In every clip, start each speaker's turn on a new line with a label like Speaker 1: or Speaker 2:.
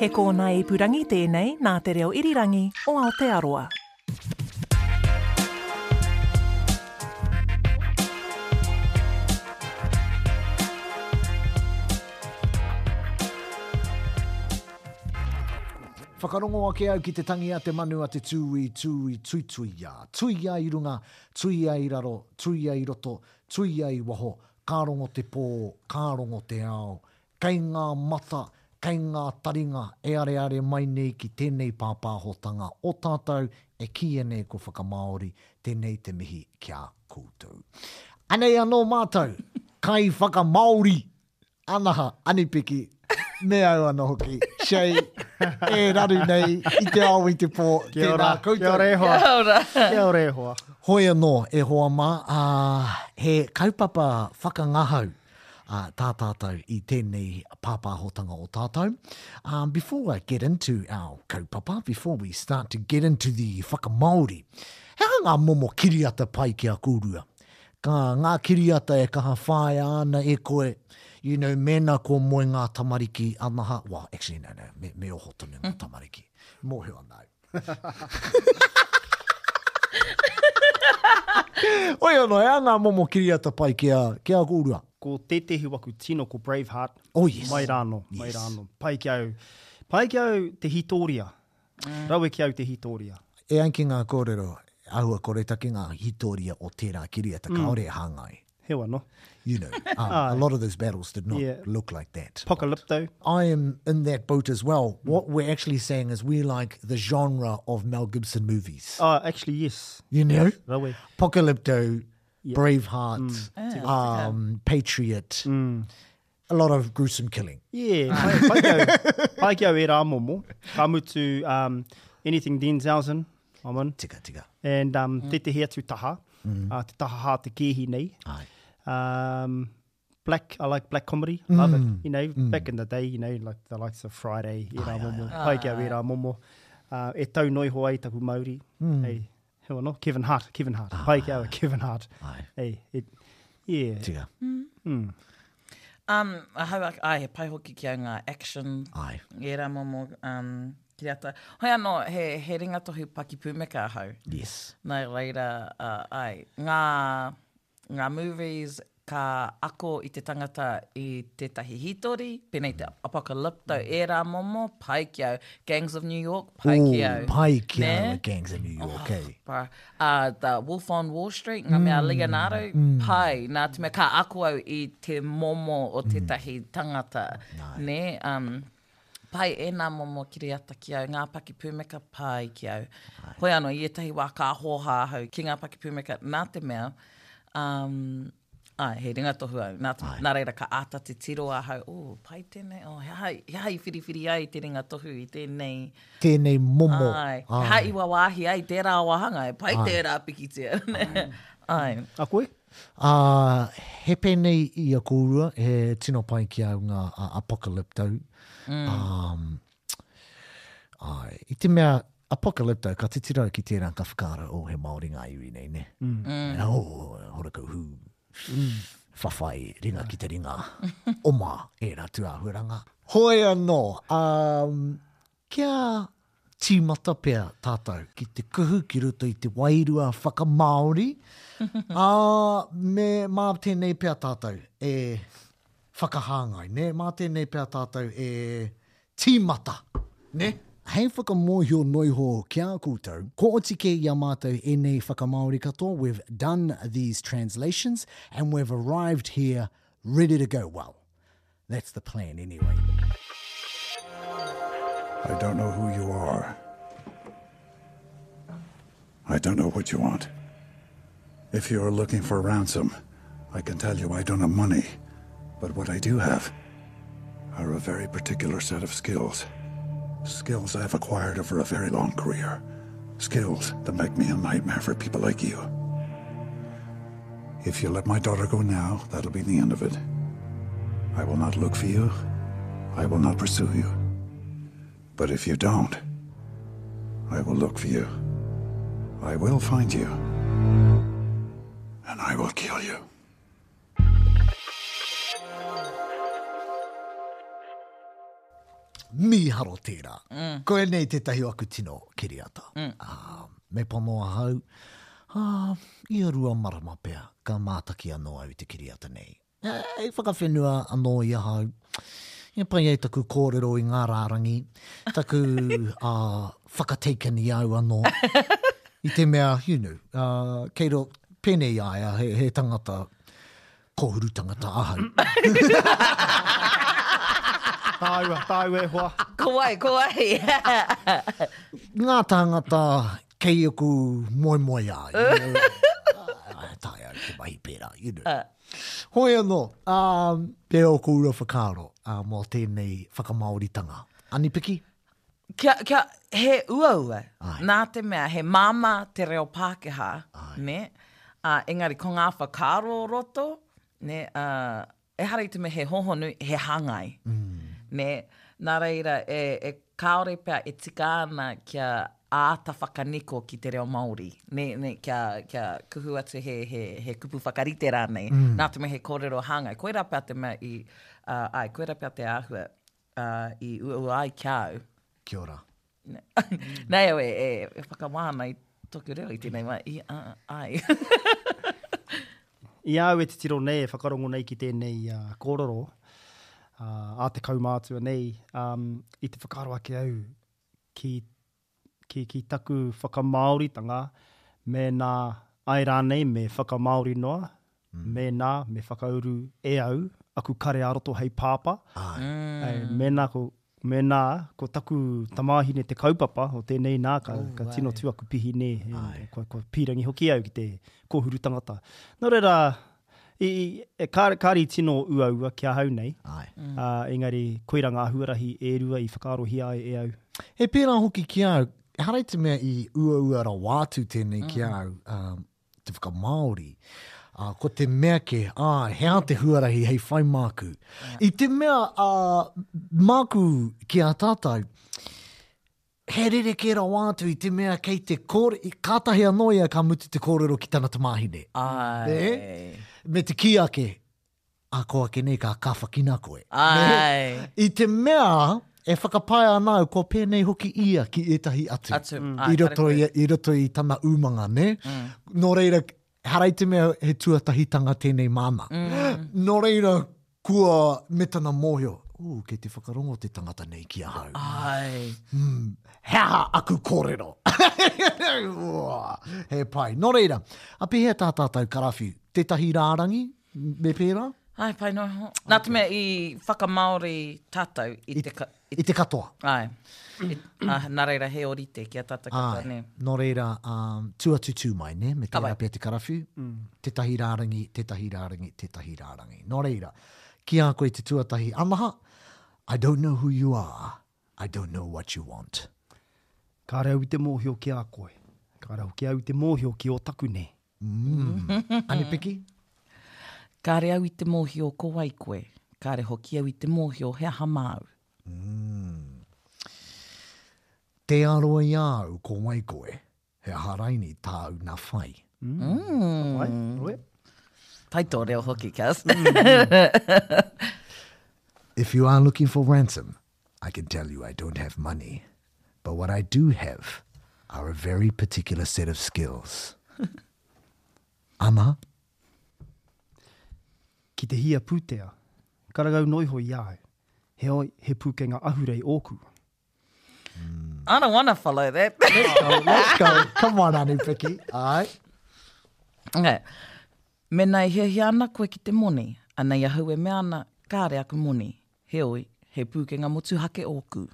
Speaker 1: He kōna i purangi tēnei nā te reo irirangi o Aotearoa.
Speaker 2: Whakarongo ake au ki te tangi a te manu a te tūi, tūi, tui tui ia. Tui ia i runga, tui ia i raro, tui ia i roto, tui ia i waho. Kārongo te pō, kārongo te ao. Kei ngā mata, kei ngā taringa, e are are mai nei ki tēnei pāpāhotanga o tātou e ki ene ko whakamaori, tēnei te mihi kia koutou. Anei anō mātou, kai whakamaori, anaha, anipiki, me au ana hoki. Shay, e raru nei, i te ao i te pō,
Speaker 3: Kia ora,
Speaker 2: tēnā koutou.
Speaker 3: kia ora e hoa. Kia ora. Kia ora e hoa.
Speaker 2: Hoi anō, e hoa mā, uh, he kaupapa whakangahau uh, tā tātou i tēnei pāpāhotanga o tātou. Um, before I get into our kaupapa, before we start to get into the whakamaori, hea ngā momo kiriata pai kia kūrua. Ka ngā kiriata e kaha whae ana e koe, you know, mēnā ko moe ngā tamariki anaha. Well, actually, no, no, me, me oho tonu ngā tamariki. Mō heo anau. Oi anō, ea ngā momo kiriata pai kia, kia kūrua.
Speaker 3: Ko tētehi waku tino ko Braveheart.
Speaker 2: Oh, yes.
Speaker 3: Mai rāno, yes. mai
Speaker 2: Yes.
Speaker 3: rāno. Pai ki au, pai ki au te hitoria. Mm. Rawe ki au te hitoria.
Speaker 2: e anki ngā kōrero, ahua kore take ngā hitoria o tērā kiriata, mm. kaore e hāngai.
Speaker 3: Hewa no.
Speaker 2: You know, um, a lot of those battles did not
Speaker 3: Yeah.
Speaker 2: look like that.
Speaker 3: Pocalypto.
Speaker 2: I am in that boat as well. What we're actually saying is we like the genre of Mel Gibson movies.
Speaker 3: Uh, actually, yes.
Speaker 2: You know?
Speaker 3: Rawe.
Speaker 2: Apocalypto, Braveheart, um, Patriot, a lot of gruesome killing.
Speaker 3: Yeah, Ah, pai, pai, ki au, pai ki au e rā momo. Ka mutu um, anything Denzhausen, I'm in.
Speaker 2: Tika, tika.
Speaker 3: And um, mm. tētehi atu taha. Mm. Uh, te taha hā te kēhi nei.
Speaker 2: Ai.
Speaker 3: um, black. I like black comedy. Love it. You know, back in the day, you know, like the likes of Friday, e rā momo, Paikau e rā momo, uh, e tau noi hoa i taku Māori. Hey, hewa no, Kevin Hart, Kevin Hart, Paikau, Kevin Hart.
Speaker 2: Ai.
Speaker 3: Hey, it, yeah,
Speaker 2: Tika.
Speaker 4: Um, a hau ak- ai, he pai hoki ki a ngā action.
Speaker 2: Ai.
Speaker 4: E rā momo, um, ki ata. Hoi anō, he, he ringa tohu paki pūmeka hau.
Speaker 2: Yes.
Speaker 4: Nai reira, uh, ai, ngā, ngā movies ka ako i te tangata i tētahi hitori, penei te apokalypto e rā momo, pai ki au. Gangs of New York, pai ki au.
Speaker 2: Ooh, Pai kia
Speaker 4: Ne?
Speaker 2: the gangs in New
Speaker 4: Oh.
Speaker 2: York, eh?
Speaker 4: Ah, Pa, uh, the Wolf on Wall Street, ngā mea Leonardo, pai, nā te mea ka ako au i te momo o te tahi tangata. Ne, um, pai e nā momo kiri ata ki au, ngā paki pūmeka pai ki au. Hoi anō, i etahi wā kā hoha hau ki ngā paki pūmeka, nā te mea, um, Ai, he ringa tohu au. Nā,
Speaker 2: Ai.
Speaker 4: nā reira ka ata te tiro a hau, oh, pai tēnei, oh, he hai, he hai whiriwhiri ai te ringa tohu i tēnei.
Speaker 2: Tēnei momo.
Speaker 4: Ai, ai. hai iwa wāhi ai, tērā wahanga e, pai ai. tērā piki te ai. ai.
Speaker 3: A koe?
Speaker 2: Uh, he penei i a kōrua, he tino pai ki au ngā uh, apokalypto. Mm. Um, ai, I te mea apokalypto, ka te tirau ki tērā ka whakara o he Māori ngā iwi nei, ne? Mm. Oh, hora kau hū. Mm. Whawhai, ringa ki te ringa. Oma, e rā tu āhuranga. Hoi anō, um, kia tīmata pēr tātou ki te kuhu ki roto i te wairua whakamaori. Ah, me mā tēnei pēr tātou e whakahāngai, ne? Mā tēnei pēr tātou e tīmata, ne? Hei whakamohio noiho kia koutou. Ko otike ia mātou e nei whakamaori katoa. We've done these translations and we've arrived here ready to go. Well, that's the plan anyway.
Speaker 5: I don't know who you are. I don't know what you want. If you are looking for ransom, I can tell you I don't have money. But what I do have are a very particular set of skills. Skills I've acquired over a very long career. Skills that make me a nightmare for people like you. If you let my daughter go now, that'll be the end of it. I will not look for you. I will not pursue you. But if you don't, I will look for you. I will find you. And I will kill you.
Speaker 2: miharo tērā. Mm. Koe nei tētahi o aku tino kiriata. Mm. Uh, me panoa hau, uh, i arua marama pēa, ka mātaki anō au te kiriata nei. E, e whakawhenua anō i a hau. E pai ei taku kōrero i ngā rārangi, taku uh, whakateikani au anō. I te mea, you know, uh, kei ro pēnei aia he, he tangata, kohuru tangata ahau.
Speaker 3: Tāua, tāua e hoa.
Speaker 4: Ko ai, ko ai.
Speaker 2: ngā tāngata kei oku moe moe ai. you know. Ah, Tae au te mahi pērā, you know. Hoi anō, um, pe o kūra whakaro uh, mō tēnei whakamaoritanga. Ani piki?
Speaker 4: Kia, kia, he uaua, nā te mea, he māma te reo Pākehā, ne? Uh, engari, ko ngā whakaro roto, ne, uh, e hara i te mea he hohonu, he hangai. Mm. Ne, nā reira, e, e kaore pea e tika ana kia āta whakaniko ki te reo Māori. Ne, ne, kia, kia kuhu atu he, he, he kupu whakarite rānei. Mm. Nā te mea he kōrero hangai. Koe rā pea te mea i, uh, ai, koe rā pea te āhua uh, i ua ai kia au.
Speaker 2: Kia ora.
Speaker 4: Ne- Nei au e, e, e whakamāna i tōku reo i tēnei mai, i a, ai.
Speaker 3: I au e te tiro nei e whakarongo nei ki tēnei uh, kōrero, uh, a te kaumātua nei, um, i te whakaro ake au ki, ki, ki taku whakamauritanga me nā ai rānei me whakamaori noa, mm. me nā me whakauru e au, aku kare aroto hei pāpa,
Speaker 2: Ai.
Speaker 3: Ai, me nā ko, me nā, ko taku tamāhine te kaupapa o tēnei nā, ka, oh, ka tino tū aku pihi nē, e, ko, ko pīrangi hoki au ki te kōhuru tangata. Nō reira, i, i, e, kāri, kāri tino uaua kia hau nei,
Speaker 2: Ai.
Speaker 3: mm. uh, engari koiranga ahuarahi e rua i whakarohia ai e au.
Speaker 2: He pērā hoki ki au, harai te mea i ua ua ra wātu tēnei ki au, um, te whakamaori. Uh, ko te mea ke, ah, hea te huarahi hei whai māku. I te mea uh, māku ki a tātou, he rere ke ra wātu i te mea kei te kore, i kātahi anoia ka mutu te kōrero ki tāna tamāhine.
Speaker 4: Ai.
Speaker 2: Eh? Me te ki ake, a ko ake nei ka kāwhakina koe.
Speaker 4: Ah. Ai.
Speaker 2: I te mea, e whakapai ana au ko pēnei hoki ia ki etahi atu.
Speaker 4: Atu, mm. ai,
Speaker 2: I roto i, i roto i tana umanga, ne? Mm. Nō reira, harai te mea he tuatahitanga tēnei māma. Mm. Nō reira, kua me tana mōhio. Ū, kei te whakarongo te tangata nei ki a hau. Ah.
Speaker 4: Ai.
Speaker 2: Hea aku kōrero. Ua, he pai. Nō reira, api hea tā tātou karafi, tētahi rārangi, me pērā,
Speaker 4: Ai, pai no. Nā te mea i whakamaori tātou i te... Ka...
Speaker 2: i te katoa.
Speaker 4: Ai. I, ah, nā reira he orite kia tātou kata,
Speaker 2: Ai,
Speaker 4: ne?
Speaker 2: nō Ah, reira, um, tuatutu mai, ne, me
Speaker 4: Ka
Speaker 2: tērā
Speaker 4: pai.
Speaker 2: pia te karafu, mm. tētahi rārangi, tētahi rārangi, tētahi rārangi. Nō reira, ki a koe te tuatahi amaha, I don't know who you are, I don't know what you want.
Speaker 3: Ka rau i te mōhio ki a koe, ka rau ki au i te mōhio ki o taku nei.
Speaker 2: Ani piki?
Speaker 4: Kāre au i te mōhio ko wai koe. Kāre hoki au i te mōhio hea hamau.
Speaker 2: Te aroa i au ko mai koe, he haraini tāu nā whai.
Speaker 3: Mm. Ai, roe?
Speaker 4: Tai tō reo hoki, Kaz.
Speaker 2: If you are looking for ransom, I can tell you I don't have money. But what I do have are a very particular set of skills. Ama,
Speaker 3: ki te hia pūtea, karagau noiho i au, he, oi, he pūkenga ahurei ōku.
Speaker 4: I don't want to follow that.
Speaker 2: go, let's go. Come on, Anu Piki. All right.
Speaker 4: Okay. Menai he he ana koe ki te moni, anei ahau e mea ana kāre aku moni. He oi, he pūkenga motu hake ōku.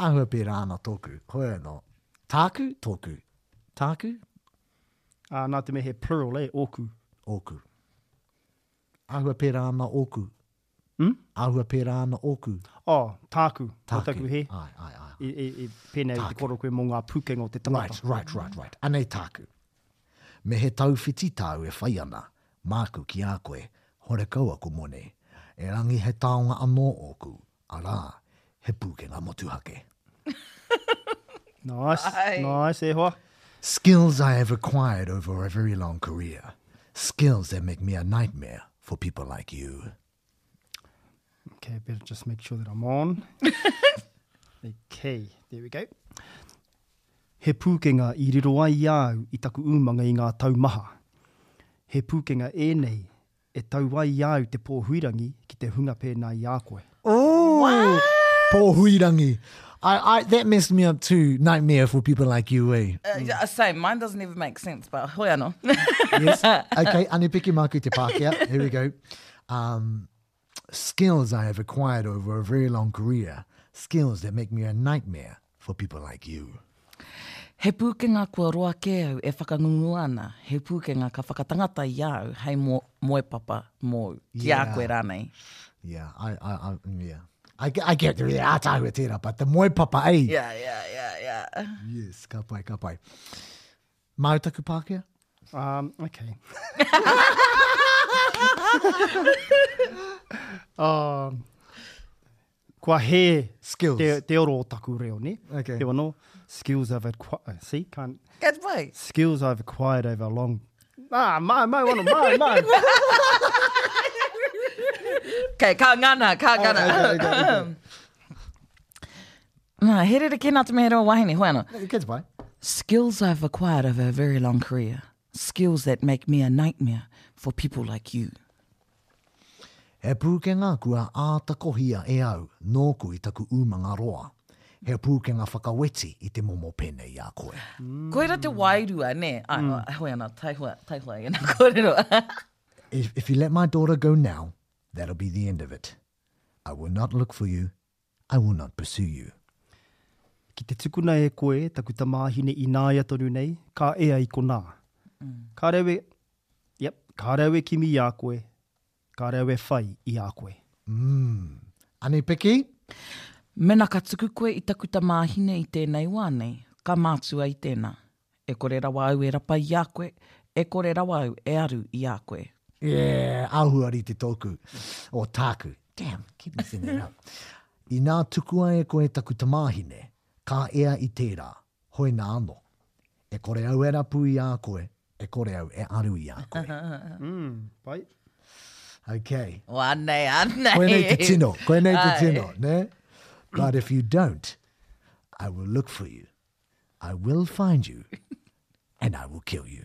Speaker 2: Ahua e pērā ana tōku. Hoi anō. Tāku, tōku. Tāku,
Speaker 3: Uh, nā te me he plural e, ōku.
Speaker 2: ōku. Ahua e pērā ana ōku.
Speaker 3: Hmm?
Speaker 2: Ahua pērā ana ōku.
Speaker 3: Oh, tāku. Tāku.
Speaker 2: Tāku.
Speaker 3: O taku he.
Speaker 2: Ai, ai, ai.
Speaker 3: I, i, i pēnei i te koro koe mō ngā pūkenga o te tangata.
Speaker 2: Right, right, right, right. Anei tāku. Me he tau whiti tāu e whai ana, māku ki a koe, hore kaua ko mone. E rangi he taonga anō oku, arā, he pūkenga motuhake.
Speaker 3: Nice,
Speaker 4: Ai.
Speaker 3: nice, e hoa.
Speaker 2: Skills I have acquired over a very long career. Skills that make me a nightmare for people like you.
Speaker 3: Okay, better just make sure that I'm on. Okay, there we go. He pūkenga i riro ai iau i taku umanga i ngā taumaha. He pūkenga ēnei e tau ai iau te pōhuirangi ki te hunga pēnā i a koe.
Speaker 2: Oh, pōhuirangi. I, I, that messed me up too. Nightmare for people like you, eh?
Speaker 4: Uh, yeah, same. Mine doesn't even make sense, but hoi anō.
Speaker 2: yes. Okay, anipiki māku te Pākehā. Here we go. Um, skills I have acquired over a very long career. Skills that make me a nightmare for people like you.
Speaker 4: He pūkenga kua roa kē au e whakangungu ana. He pūkenga ka whakatangata i au hei mo, moepapa mōu. Ki
Speaker 2: Yeah.
Speaker 4: a koe rānei.
Speaker 2: Yeah, I, I, I mm, yeah. I, get- I get the real ata with it, but the moi papa, eh?
Speaker 4: Yeah, yeah, yeah, yeah.
Speaker 2: Yes, ka pai, ka pai. Mautaku Pākehā?
Speaker 3: Um, okay. um, kua he
Speaker 2: Skills.
Speaker 3: te, te oro o taku reo, ne?
Speaker 2: Okay.
Speaker 3: Te wano, skills I've acquired. See, can't.
Speaker 4: Good way.
Speaker 3: Skills I've acquired over a long... Ah, mai, mai, wano, mai, mai.
Speaker 4: Okay, ka ngana, ka ngana. Nā, he rere ki nā te mehero wahine, hoi anō.
Speaker 2: Kids pai.
Speaker 4: Skills I've acquired over a very long career. Skills that make me a nightmare for people like you.
Speaker 2: He pūkenga kua ātakohia e au, nōku i taku umanga roa. He pūkenga whakaweti i te momo pene i a koe.
Speaker 4: Mm. Koira te wairua, ne? Ai, mm. hoi anā, tai hoa, tai hoa i nā kōrero.
Speaker 2: If, if you let my daughter go now, that'll be the end of it. I will not look for you. I will not pursue you.
Speaker 3: Ki te tukuna e koe, taku tā māhine i nāi atonu nei, ka ea i konā. Mm. Ka rewe, yep, ka rewe kimi i a koe, ka rewe whai i a koe.
Speaker 2: Ani Piki?
Speaker 4: Mena ka tuku koe i taku ta māhine i tēnei wānei, ka mātua i tēnā. E kore rawa au e rapa i a koe, e kore rawa au e aru i a koe.
Speaker 2: Yeah, ahuari te tōku. O tāku. Damn, keep messing it up. I nā tuku ai e koe taku tamāhine, ka ea i tērā, hoi nā anō. E kore au era pui a koe, e kore au e aru i a koe.
Speaker 3: Mm, pai.
Speaker 2: Okay.
Speaker 4: Wānei, anei.
Speaker 2: Koe nei te tino, koe nei te tino, ne? But if you don't, I will look for you. I will find you, and I will kill you.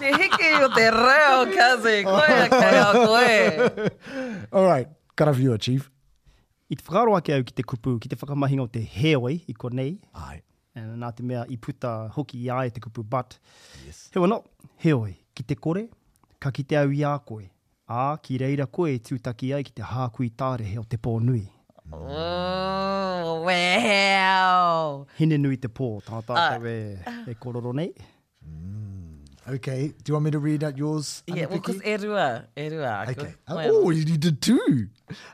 Speaker 4: Te hiki o te reo, kazi. Koe a koe a koe.
Speaker 2: All right, got a viewer, Chief.
Speaker 3: I te whakaroa ke au ki te kupu, ki te whakamahinga o te heoi i konei,
Speaker 2: Aye.
Speaker 3: and nā te mea i puta hoki i ai te kupu, but yes. he wano, heoi, ki te kore, ka ki te au i a koe, ā ki reira koe e tūtaki ai ki te hākui tārehe o te pōnui.
Speaker 4: Oh, wow.
Speaker 3: Hine nui te pō, tātā uh. e, e kororo nei.
Speaker 2: Okay, do you want me to read out yours?
Speaker 4: Yeah, well,
Speaker 2: Anupiki?
Speaker 4: because e rua, e rua. a koe.
Speaker 2: Okay.
Speaker 4: Hoi
Speaker 2: Oh,
Speaker 4: anō.
Speaker 2: oh, you did too.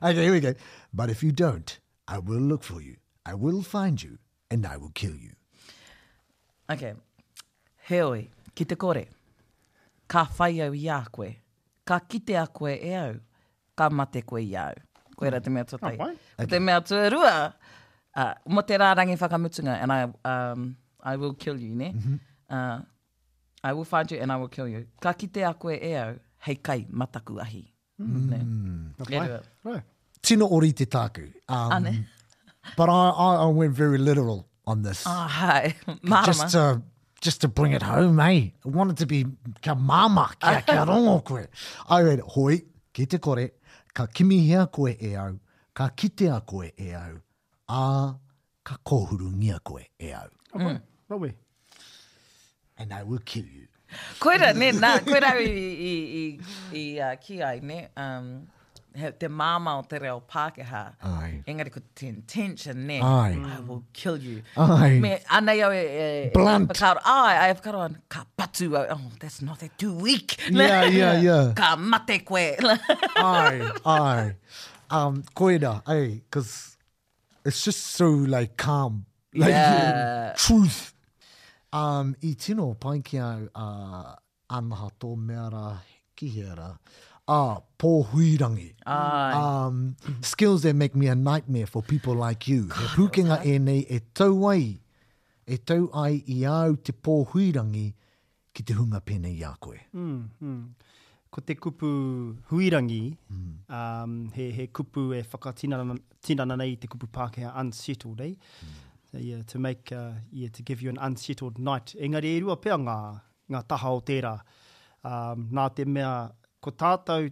Speaker 2: Okay, here we go. But if you don't, I will look for you. I will find you, and I will kill you.
Speaker 4: Okay. He oi, ki te kore. Ka whai au i a koe. Ka kite a koe e au. Ka mate koe i au. Koe ra te mea tuatai.
Speaker 3: Oh, wai.
Speaker 4: Okay. Te mea tuarua. Uh, mo te rārangi whakamutunga and I, um, I will kill you, ne? Mm -hmm. uh, I will find you and I will kill you. Ka kite a koe e au. Hei kai mataku ahi. Mm. Ne? E rua.
Speaker 3: Right.
Speaker 2: Tino ori te tāku. Um,
Speaker 4: Ane.
Speaker 2: but I, I, I went very literal on this.
Speaker 4: Ah, hai. Marama.
Speaker 2: just to just to bring it home, eh? I wanted to be ka mama, kia, kia rongo koe. I read, hoi, ki te kore, ka kimihia koe e au, ka kitea koe e au, ā ka kohurungia koe e au.
Speaker 3: Okay. Right way.
Speaker 2: And I will kill you.
Speaker 4: Koera, ne, nā, koera i, i, i, i uh, ki ai, ne, um, he, te māma o te reo Pākehā.
Speaker 2: Ai.
Speaker 4: Engari ko te intention, ne.
Speaker 2: Ah. Ai.
Speaker 4: I will kill you.
Speaker 2: Ai.
Speaker 4: Me, anei au e... e
Speaker 2: Blunt.
Speaker 4: E whakaro, ai, ai, whakaro an, ka patu au. Oh, that's not that too weak.
Speaker 2: Yeah, yeah, yeah.
Speaker 4: ka mate koe.
Speaker 2: ai, ai. Um, koina, eh, because it's just so like calm, like
Speaker 4: Yeah.
Speaker 2: truth. Um, i tino pai ki au uh, anaha tō mea rā kihera, uh, pōhuirangi.
Speaker 4: Ai.
Speaker 2: Um, skills that make me a nightmare for people like you. He pūkenga e nei e tau ai, e tau Hmm. ai i au te pōhuirangi ki te hunga pene i a koe.
Speaker 3: Mm, mm. Hmm, ko te kupu huirangi, um, he, he kupu e whakatinana nei te kupu Pākehā unsettled, eh? So, yeah, to make, uh, yeah, to give you an unsettled night. Engari e rua pia ngā, ngā taha o tērā. Um, nā te mea, ko tātou,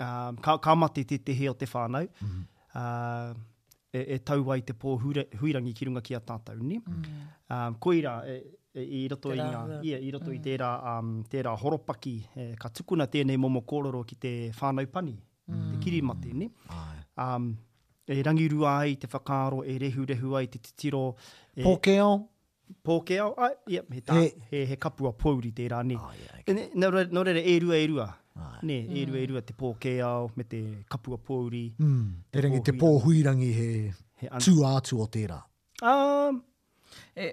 Speaker 3: um, ka, ka mate te tehe o te whānau, mm. uh, e, e tau ai te pō huira, huirangi ki runga ki a tātou, ne? Mm. Um, ko ira, e, e, i roto i ngā,
Speaker 4: rāua.
Speaker 3: ia, i roto i tērā, um, tērā horopaki, e, ka tukuna tēnei momo kōrero ki te whānau pani, mm. te kirimate, ne?
Speaker 2: Ai.
Speaker 3: Um, e rangirua ai, te whakaaro, e rehu rehu ai, te titiro, e,
Speaker 2: Pōkeo?
Speaker 3: pōkeo, ai, ia, he, tā,
Speaker 2: He-
Speaker 3: he, he, kapua pōuri tērā, ne?
Speaker 2: Oh, yeah,
Speaker 3: E ne- Nā reira, nā reira, e rua, e rua.
Speaker 2: Ai.
Speaker 3: Ne, e rua, e rua, te pōkeo, me te kapua pōuri.
Speaker 2: Mm. E rangi te pōhuirangi he,
Speaker 3: He an-
Speaker 2: tū ātu o tērā.
Speaker 3: Um,
Speaker 4: E,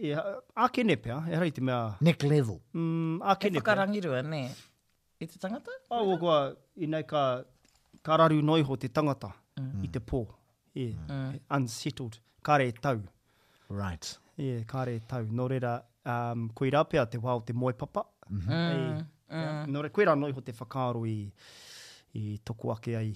Speaker 3: ia, ākene pia, e rei te mea,
Speaker 2: Next level.
Speaker 3: mm,
Speaker 4: e
Speaker 3: ākene pia.
Speaker 4: whakarangirua, ne? I te tangata?
Speaker 3: Au kua, i nei ka, ka raru noi ho te tangata i te pō. E, unsettled, kāre e tau.
Speaker 2: Right.
Speaker 3: E, kāre e tau. Nō reira, um, koe rā pia te wā o te moepapa.
Speaker 2: Mhm.
Speaker 3: Mm -hmm. e, mm. Nō reira, koe rā noi ho te whakaaro i, i toku ake ai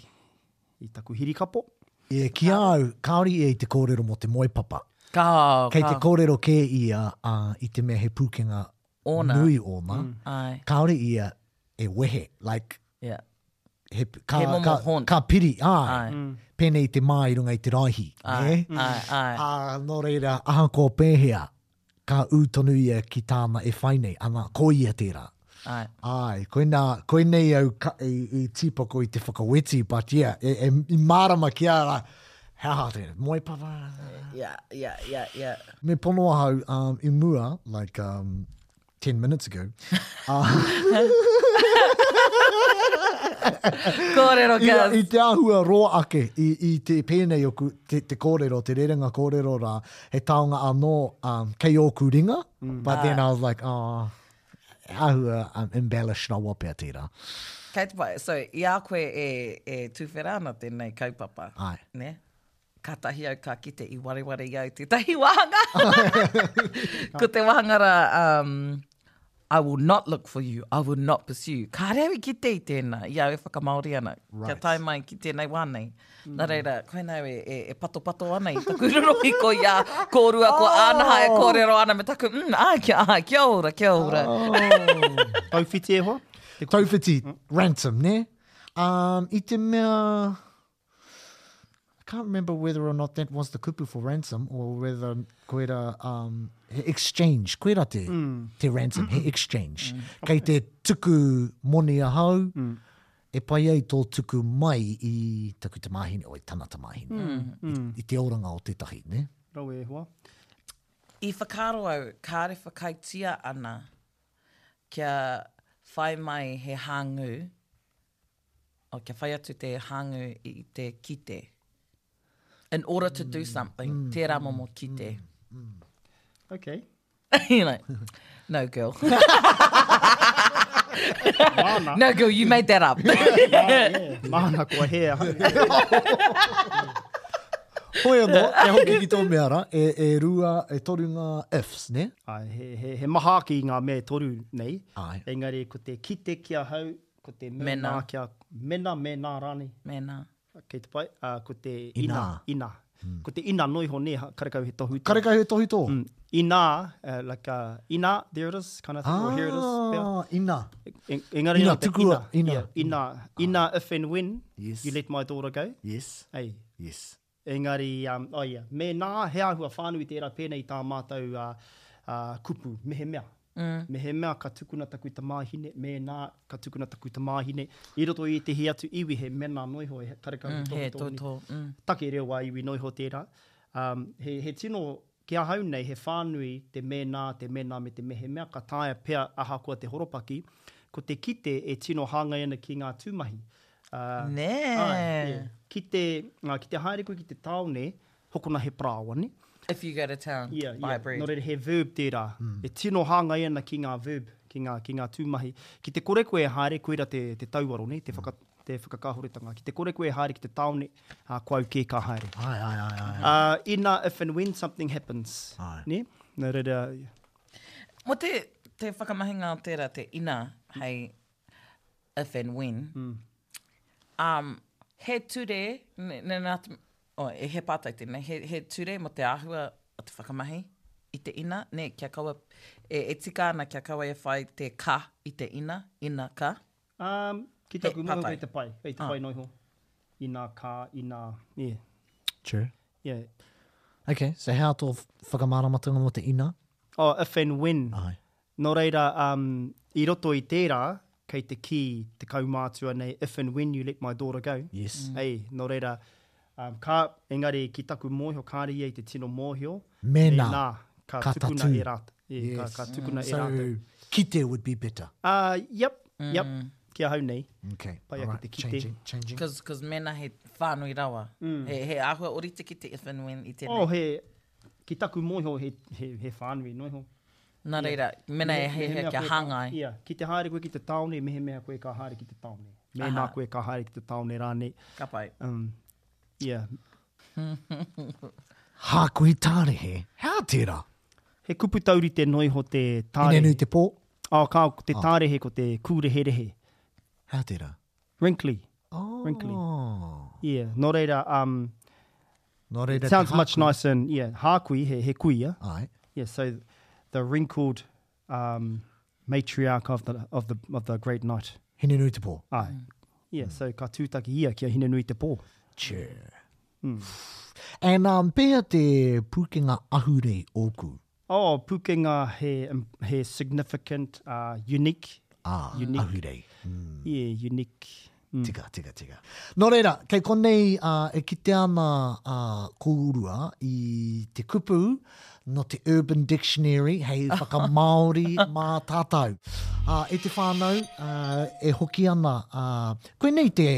Speaker 3: i taku hirikapo.
Speaker 2: E kia au, kaori e i te kōrero mō te moipapa.
Speaker 4: Ka,
Speaker 2: Kei
Speaker 4: Oh, ka.
Speaker 2: te kōrero ke ia uh, i te mea he pūkenga
Speaker 4: Ōna.
Speaker 2: nui ōna. Mm.
Speaker 4: Ai,
Speaker 2: Kaori ia e wehe. Like,
Speaker 4: yeah.
Speaker 2: he, ka,
Speaker 4: He momo
Speaker 2: ka,
Speaker 4: hon.
Speaker 2: ka piri,
Speaker 4: Ai.
Speaker 2: ai. Mm. Pēnei te mā i runga i te rahi.
Speaker 4: Ai,
Speaker 2: ne?
Speaker 4: ai, ai.
Speaker 2: A nō reira, aha kō pēhea, ka ūtonu ia ki tāna e whainei, ana ko ia tērā.
Speaker 4: ai.
Speaker 2: Ai, koe, nā, koe nei au ka, i, i tīpoko i te whakaweti, but yeah, e, e, i mārama ki ara, hea tēnā, moe papa.
Speaker 4: Yeah, yeah, yeah, yeah.
Speaker 2: Me pono ahau um, i mua, like um, 10 minutes ago,
Speaker 4: Kōrero,
Speaker 2: I,
Speaker 4: guys.
Speaker 2: I te ahua roa ake i, i te pēnei o ku- te, te kōrero, te rerenga kōrero rā, he taonga anō um, kei o kuringa, but then I was like, oh, ahua um, embellish rā wapea tērā.
Speaker 4: Kei te pai, so i a koe e, e tūwhera ana tēnei kaupapa.
Speaker 2: Ai.
Speaker 4: Ne? Ka tahi au ka kite i wareware iau te tahi wahanga. Ko te wahangara, um, I will not look for you, I will not pursue you. Ka reo i kite i tēnā, i au e whakamaori ana. Right. Kia tai mai ki tēnei wānei. Mm. Nā reira, koe nau e, e, e pato pato ana i taku roroi ko ia, ko rua, ko oh. anaha e kōrero ana me taku, mm, ai, kia, ai, kia ora, kia ora. Oh.
Speaker 3: Tauwhiti e hoa. Te
Speaker 2: Tawhiti, ransom, ne? Um, i te mea... I can't remember whether or not that was the kupu for ransom or whether koera um, he exchange, koera te, te ransom, he exchange. Kei te tuku moni a hau, e pai ai tō tuku mai i taku te mahine, o i tana te mahine, I, i te oranga o te tahi, ne?
Speaker 3: rau e hoa.
Speaker 4: I whakaro au, kāre whakaitia ana kia whai mai he hāngu, o kia whai atu te hāngu i te kite. In order to do something, tērā momo kite.
Speaker 3: Okay.
Speaker 4: You're like, no, girl. no, girl, you made that up.
Speaker 3: Mahana kua hea.
Speaker 2: Hoi anō, e hoki ki tō mea ra, e, e rua, e toru ngā ifs, ne?
Speaker 3: Ai, he, he, he maha ki ngā mea e toru nei.
Speaker 2: Ai.
Speaker 3: Engari, ko te kite kia hau, ko te mena,
Speaker 4: Mena.
Speaker 3: kia mena, mena rani.
Speaker 4: Mena.
Speaker 3: Kei te pai, uh, ko te
Speaker 2: Inā.
Speaker 3: ina. Ina.
Speaker 2: Hmm.
Speaker 3: Mm. Ko te ina noiho ne, ha- karekau he tohu.
Speaker 2: Karekau he tohi tō?
Speaker 3: Mm. Ina, uh, like uh, ina, there it is, kind of thing, or here it is. Yeah.
Speaker 2: Ah, ina.
Speaker 3: En, engari,
Speaker 2: Ina,
Speaker 3: te
Speaker 2: tukua, ina. Ah.
Speaker 3: Yeah, ina, ina if and when
Speaker 2: Yes.
Speaker 3: you let my daughter go.
Speaker 2: Yes,
Speaker 3: Hey,
Speaker 2: yes.
Speaker 3: Engari, um, oh yeah, me nā he ahua whānui tērā pēnei tā mātou uh, uh, kupu, mehe mea. Mm. Mehe mea ka tukuna taku i tā māhine, me nā ka tukuna taku i tā māhine. I roto i te he atu iwi he mena noiho e karekau mm,
Speaker 4: He toto. Mm.
Speaker 3: Take reo wā iwi noiho tērā. Um, he, he tino kia hau nei he whānui te me nā, te me nā me te mehe mea ka tāia pea aha kua te horopaki. Ko te kite e tino hāngai ana ki ngā tūmahi. Uh,
Speaker 4: Ne. Eh.
Speaker 3: Ai, yeah. Ki te, uh, ki te haere koe ki te taone, hokona he prāwa, ne?
Speaker 4: If you go to town,
Speaker 3: Ia,
Speaker 4: buy
Speaker 3: ia.
Speaker 4: bread.
Speaker 3: Nō reira, he verb tērā. Mm. E tino hāngai ana ki ngā verb, ki ngā, ki ngā tūmahi. Ki te kore koe haere koe ra te, te tauaro, ne? Te, whaka, te whakakahoretanga. Ki te kore koe haere ki te taone, uh, koau kē ka haere.
Speaker 2: Ai, ai, ai, ai.
Speaker 3: Uh, ina, if and when something happens.
Speaker 2: Ai.
Speaker 3: Ne? Nō reira,
Speaker 4: Mo te, te whakamahinga o tērā, te ina, hei, if and when. Um, he ture, ne, ne nā, te- o, oh, e he pātai tēnei, he, he ture mo te āhua o te whakamahi i te ina, ne, kia kaua, e, e tika ana kia kaua e whai te ka i te ina, ina ka.
Speaker 3: Um, ki taku
Speaker 4: He,
Speaker 3: mua
Speaker 4: papai.
Speaker 3: koe te pai, koe te pai noiho. I nā kā, i nā, yeah,
Speaker 2: True.
Speaker 3: yeah.
Speaker 2: Okay, so how tō whakamāramatanga mo te ina?
Speaker 3: Oh, if and when.
Speaker 2: Ai.
Speaker 3: Nō reira, um, i roto i tērā, kei te ki, te kaumātua nei, if and when you let my daughter go.
Speaker 2: Yes.
Speaker 4: Mm.
Speaker 3: Hei, nō reira, um, kā, engari ki taku mōhio, kāri ei te tino mōhio.
Speaker 2: Mēnā.
Speaker 3: nei nā, ka,
Speaker 2: Ka
Speaker 3: tukuna
Speaker 2: tatu.
Speaker 3: e rātou. Yeah, yes. Ka, ka tukuna e rātou.
Speaker 2: So, kite would be better.
Speaker 3: Uh, yep, yep,
Speaker 4: Mm.
Speaker 3: kia hau nei.
Speaker 2: Okay.
Speaker 3: Pai
Speaker 2: all
Speaker 3: ake
Speaker 2: right,
Speaker 3: te kite.
Speaker 2: Changing, changing.
Speaker 4: Cause, cause mēnā he whānui rawa. Mm. He, he āhua orite ki te if and when i tēnei.
Speaker 3: Oh, he, ki taku mōhio, he, he, he whānui noiho.
Speaker 4: Nā reira, mēnā e he he
Speaker 3: mea
Speaker 4: kia
Speaker 3: koe ka-
Speaker 4: hangai.
Speaker 3: Ia, ki te haere koe ki te taone, mehe mea koe ka haere ki te taone. Mēnā
Speaker 4: Aha.
Speaker 3: koe ka haere ki te taone rāne.
Speaker 4: Ka pai.
Speaker 3: Um, ia,
Speaker 2: Hā kui tāre he. Hā tērā.
Speaker 3: he kupu tauri te noiho te
Speaker 2: Tāre. Inenu
Speaker 3: tārehe.
Speaker 2: te pō.
Speaker 3: Oh, ka te tārehe ko te kūreherehe.
Speaker 2: Hā tērā.
Speaker 3: Wrinkly.
Speaker 2: Oh.
Speaker 3: Wrinkly.
Speaker 2: Nō
Speaker 3: Yeah, nō reira, um,
Speaker 2: reira te
Speaker 3: sounds
Speaker 2: hā
Speaker 3: much
Speaker 2: kui.
Speaker 3: nicer in, yeah, hākui, he, he kui, yeah?
Speaker 2: Ai.
Speaker 3: Yeah, so the wrinkled um, matriarch of the, of, the, of the great knight.
Speaker 2: Hinenu te pō.
Speaker 3: Ai. Yeah, so ka tūtaki ia kia hine nui te pō.
Speaker 2: Sure.
Speaker 3: Hmm.
Speaker 2: And um, pēa te pūkenga ahure oku.
Speaker 3: Oh, pukenga he um, he significant, uh, unique.
Speaker 2: Ah, Hmm.
Speaker 3: Unique.
Speaker 2: ahure.
Speaker 3: Yeah, unique. Mm.
Speaker 2: Tika, tika, tika. Nō reira, kei konei uh, e kite ana uh, kōurua i te kupu no te Urban Dictionary, hei whakamaori mā tātou. Uh, e te whānau, uh, e hoki ana, uh, koe nei te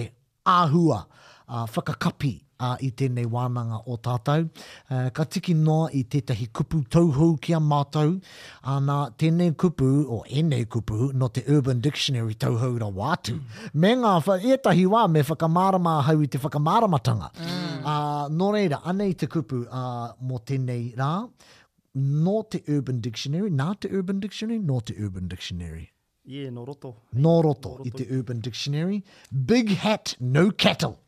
Speaker 2: āhua, uh, whakakapi uh, i tēnei wānanga o tātou. Uh, ka tiki noa i tētahi kupu tauhou kia mātou. Anā tēnei kupu, o enei kupu, no te Urban Dictionary tauhou ra wātu. Me ngā wha, etahi wā me whakamārama hau i te whakamāramatanga. Mm. Uh, nō reira, anei te kupu uh, mō tēnei rā. Nō te Urban Dictionary, nā te Urban Dictionary, nō te Urban Dictionary.
Speaker 3: Yeah, no roto.
Speaker 2: Nō roto i te Urban Dictionary. Big hat, no cattle.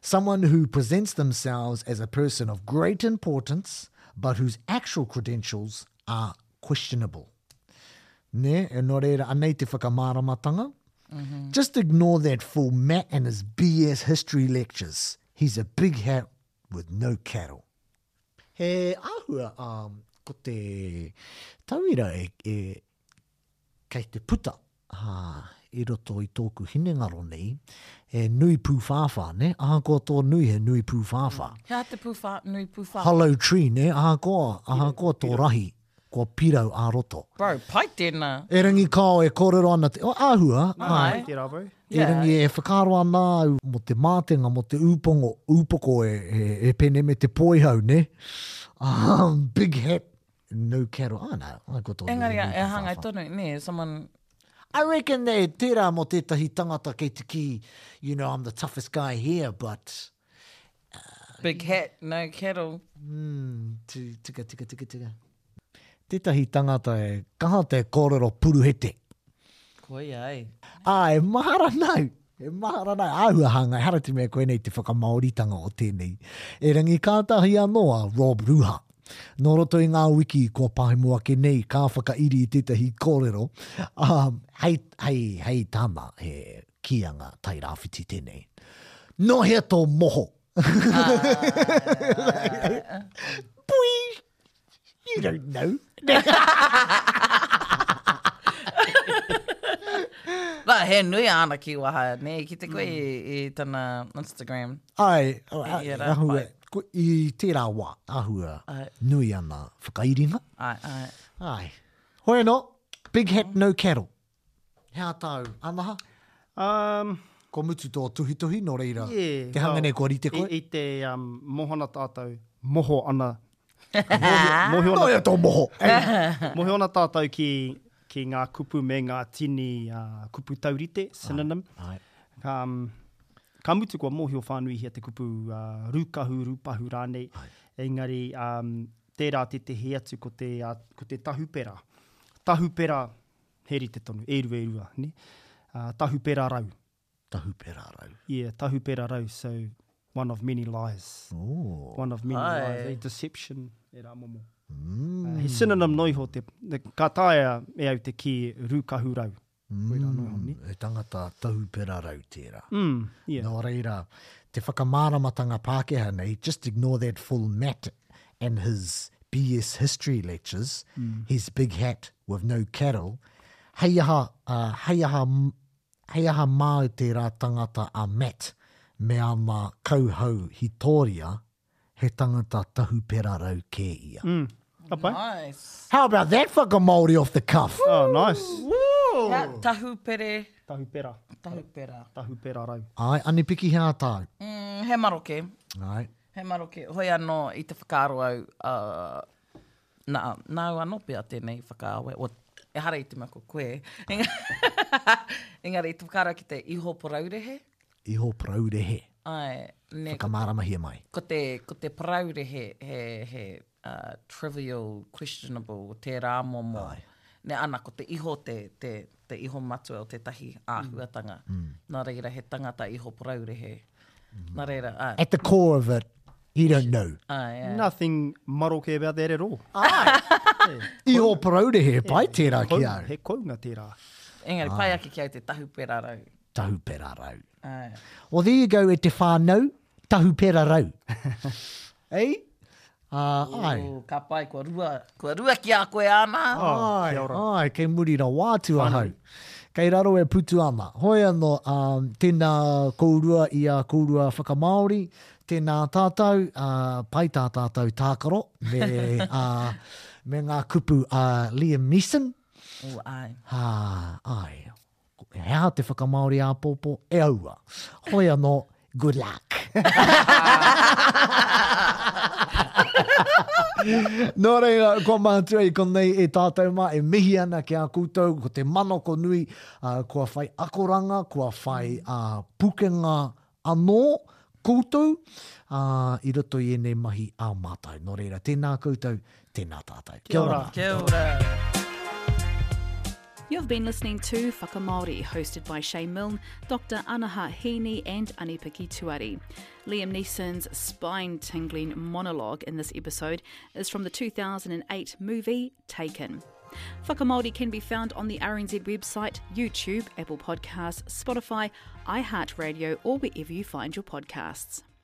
Speaker 2: Someone who presents themselves as a person of great importance, but whose actual credentials are questionable. Ne, e nō reira anei te whakamāramatanga. Just ignore that fool Matt and his BS history lectures. He's a big hat with no cattle. He āhua, um, ko te tauira e, e, kei te puta ha, i roto i tōku hinengaro nei, e nui pūwhāwha, ne? Aha ko tō nui he nui pūwhāwha.
Speaker 4: Hea te pūwha, nui pūwha.
Speaker 2: Hollow tree, ne? Aha ko, aha ko tō rahi, ko pirau a roto.
Speaker 4: Bro, pai tēnā.
Speaker 2: E rangi kao e kōrero ana te... O, āhua, ai.
Speaker 3: Te rāwau.
Speaker 2: E
Speaker 4: Yeah.
Speaker 2: rangi e whakaro ana au mo te mātenga, mo te upongo, upoko e, e, e pene me te poihau, ne? Um, big hat, no cattle. Ah, nā, ai ko tō. nui
Speaker 4: Engari,
Speaker 2: nui
Speaker 4: e hangai
Speaker 2: pūwhāwha.
Speaker 4: tonu, ne, someone...
Speaker 2: I reckon they tērā mo tētahi tangata kei te ki, you know, I'm the toughest guy here, but
Speaker 4: Big hat, no kettle.
Speaker 2: mm, tu, tika, tika, tika, tika. Tētahi tangata e kaha te kōrero puruhete.
Speaker 4: Koe ai.
Speaker 2: Ah, e mahara nau. E mahara nau. Āhua hāngai, hara te mea koe nei te whakamauritanga o tēnei. E rangi kātahi anoa, Rob Ruha. Nō roto i ngā wiki ko pāhemua ke nei, kā whakairi i tētahi kōrero. Um, hei, hei, hei tāna he kianga tai rāwhiti tēnei. No hea tō moho. Pui! You don't know.
Speaker 4: Nā, he nui ana ki waha, ne, ki te koe i, i tana Instagram.
Speaker 2: Ai, a-
Speaker 4: Ia
Speaker 2: a-
Speaker 4: rā,
Speaker 2: ahua,
Speaker 4: pai.
Speaker 2: ko, i tērā wā, ahua,
Speaker 4: Ai.
Speaker 2: nui ana whakairinga.
Speaker 4: Ai, ai.
Speaker 2: Ai, hoi no, big hat no cattle. Hea tau, anaha,
Speaker 3: Um,
Speaker 2: ko mutu tō tuhituhi, no reira,
Speaker 3: yeah,
Speaker 2: te hanga
Speaker 3: well,
Speaker 2: nei ko rite koe.
Speaker 3: I, I te um, mohona tātou, moho ana. moho,
Speaker 2: No
Speaker 3: moho,
Speaker 2: ia tō moho. Ei,
Speaker 3: ana, moho ana tātou ki, ki ngā kupu me ngā tini uh, kupu taurite, synonym.
Speaker 2: ai.
Speaker 3: Ka, um, ka mutu kua mōhio whānui hea te kupu uh, rūkahu, rūpahu rānei. Engari, um, tērā te te he atu ko te, uh, ko te tahupera. Tahupera, heri te tonu, e rua, e rua. Ne? uh, tahupera rau.
Speaker 2: Tahupera rau.
Speaker 3: Yeah, tahupera rau. So one of many lies.
Speaker 2: Oh.
Speaker 3: One of many
Speaker 4: Ai.
Speaker 3: lies. A deception e rā momo. Mm. Uh, he synonym noi ho te, te kataia e au te ki rūkahu rau. Koe rā noi ho ni.
Speaker 2: E tangata tahupera rau tērā.
Speaker 3: Mm, yeah.
Speaker 2: No reira, te whakamāramatanga Pākehā nei, just ignore that full Matt and his BS history lectures, his big hat with no cattle, hei aha, uh, hei aha, m- hei aha māu tērā tangata a Matt me a mā kauhau hitoria he tangata tahupera rau kē ia. Mm.
Speaker 3: Apai?
Speaker 4: Nice.
Speaker 2: How about that fucking Māori off the cuff?
Speaker 3: Oh, nice.
Speaker 4: Ta, tahupere,
Speaker 3: Tahupera.
Speaker 4: tahupera.
Speaker 3: Tahupera rau.
Speaker 2: Ai, anipiki hea tāu.
Speaker 4: Mm, he maroke.
Speaker 2: Ai,
Speaker 4: He maroke. Hoi anō i te whakaaro au. Uh, nā, nāu anō pia tēnei whakaawe. O, e hara i te mako koe. Enga- Engari, i te whakaaro ki te iho poraurehe.
Speaker 2: iho praurehe.
Speaker 4: Ai, ne,
Speaker 2: Whakamaramahi mai.
Speaker 4: ko te, ko te paraurehe he, he uh, trivial, questionable, te rā momo. Ai. Ne ana, ko te iho te, te, te iho matua o te tahi āhuatanga. Mm. Nā reira he tangata iho paraurehe. Mm. Nā reira, ai.
Speaker 2: At the core of it, you don't know.
Speaker 4: ai, ai.
Speaker 3: Nothing maroke about that at all. Ah,
Speaker 2: I o paraude he pai tērā ki au.
Speaker 3: He kounga tērā.
Speaker 4: Engari, pai ake ki au te tahupera rau.
Speaker 2: Tahu pera rau.
Speaker 4: Ai.
Speaker 2: Well, there you go e te whānau, tahu pera rau. Ei? Uh, ai.
Speaker 4: O, ka pai, kua rua, kua rua ki a koe ana. Oh.
Speaker 2: Ai, ai, kei muri rā wātu ahau. Kei raro e putu ana. Hoi anō, um, tēnā kōrua i a kōrua whakamaori, tēnā tātou, uh, pai tā tātou tākaro, me, uh, me ngā kupu uh, Liam Neeson.
Speaker 4: O, ai.
Speaker 2: Ha, ai. Hea te whakamaori a pōpō, e aua. Hoi anō, good luck. Nō reira, kua mātua i konei e tātou mā, e mihi ana ki a koutou, ko te manoko nui, uh, kua whai akoranga, kua whai uh, pukenga anō, koutou, uh, i roto i ene mahi a mātai. Nō reira, tēnā koutou, tēnā tātou. Kia ora.
Speaker 4: Kia ora.
Speaker 6: You've been listening to Whakamaori, hosted by Shay Milne, Dr. Anaha Heaney, and Anipiki Tuari. Liam Neeson's spine tingling monologue in this episode is from the 2008 movie Taken. Whakamaori can be found on the RNZ website, YouTube, Apple Podcasts, Spotify, iHeartRadio, or wherever you find your podcasts.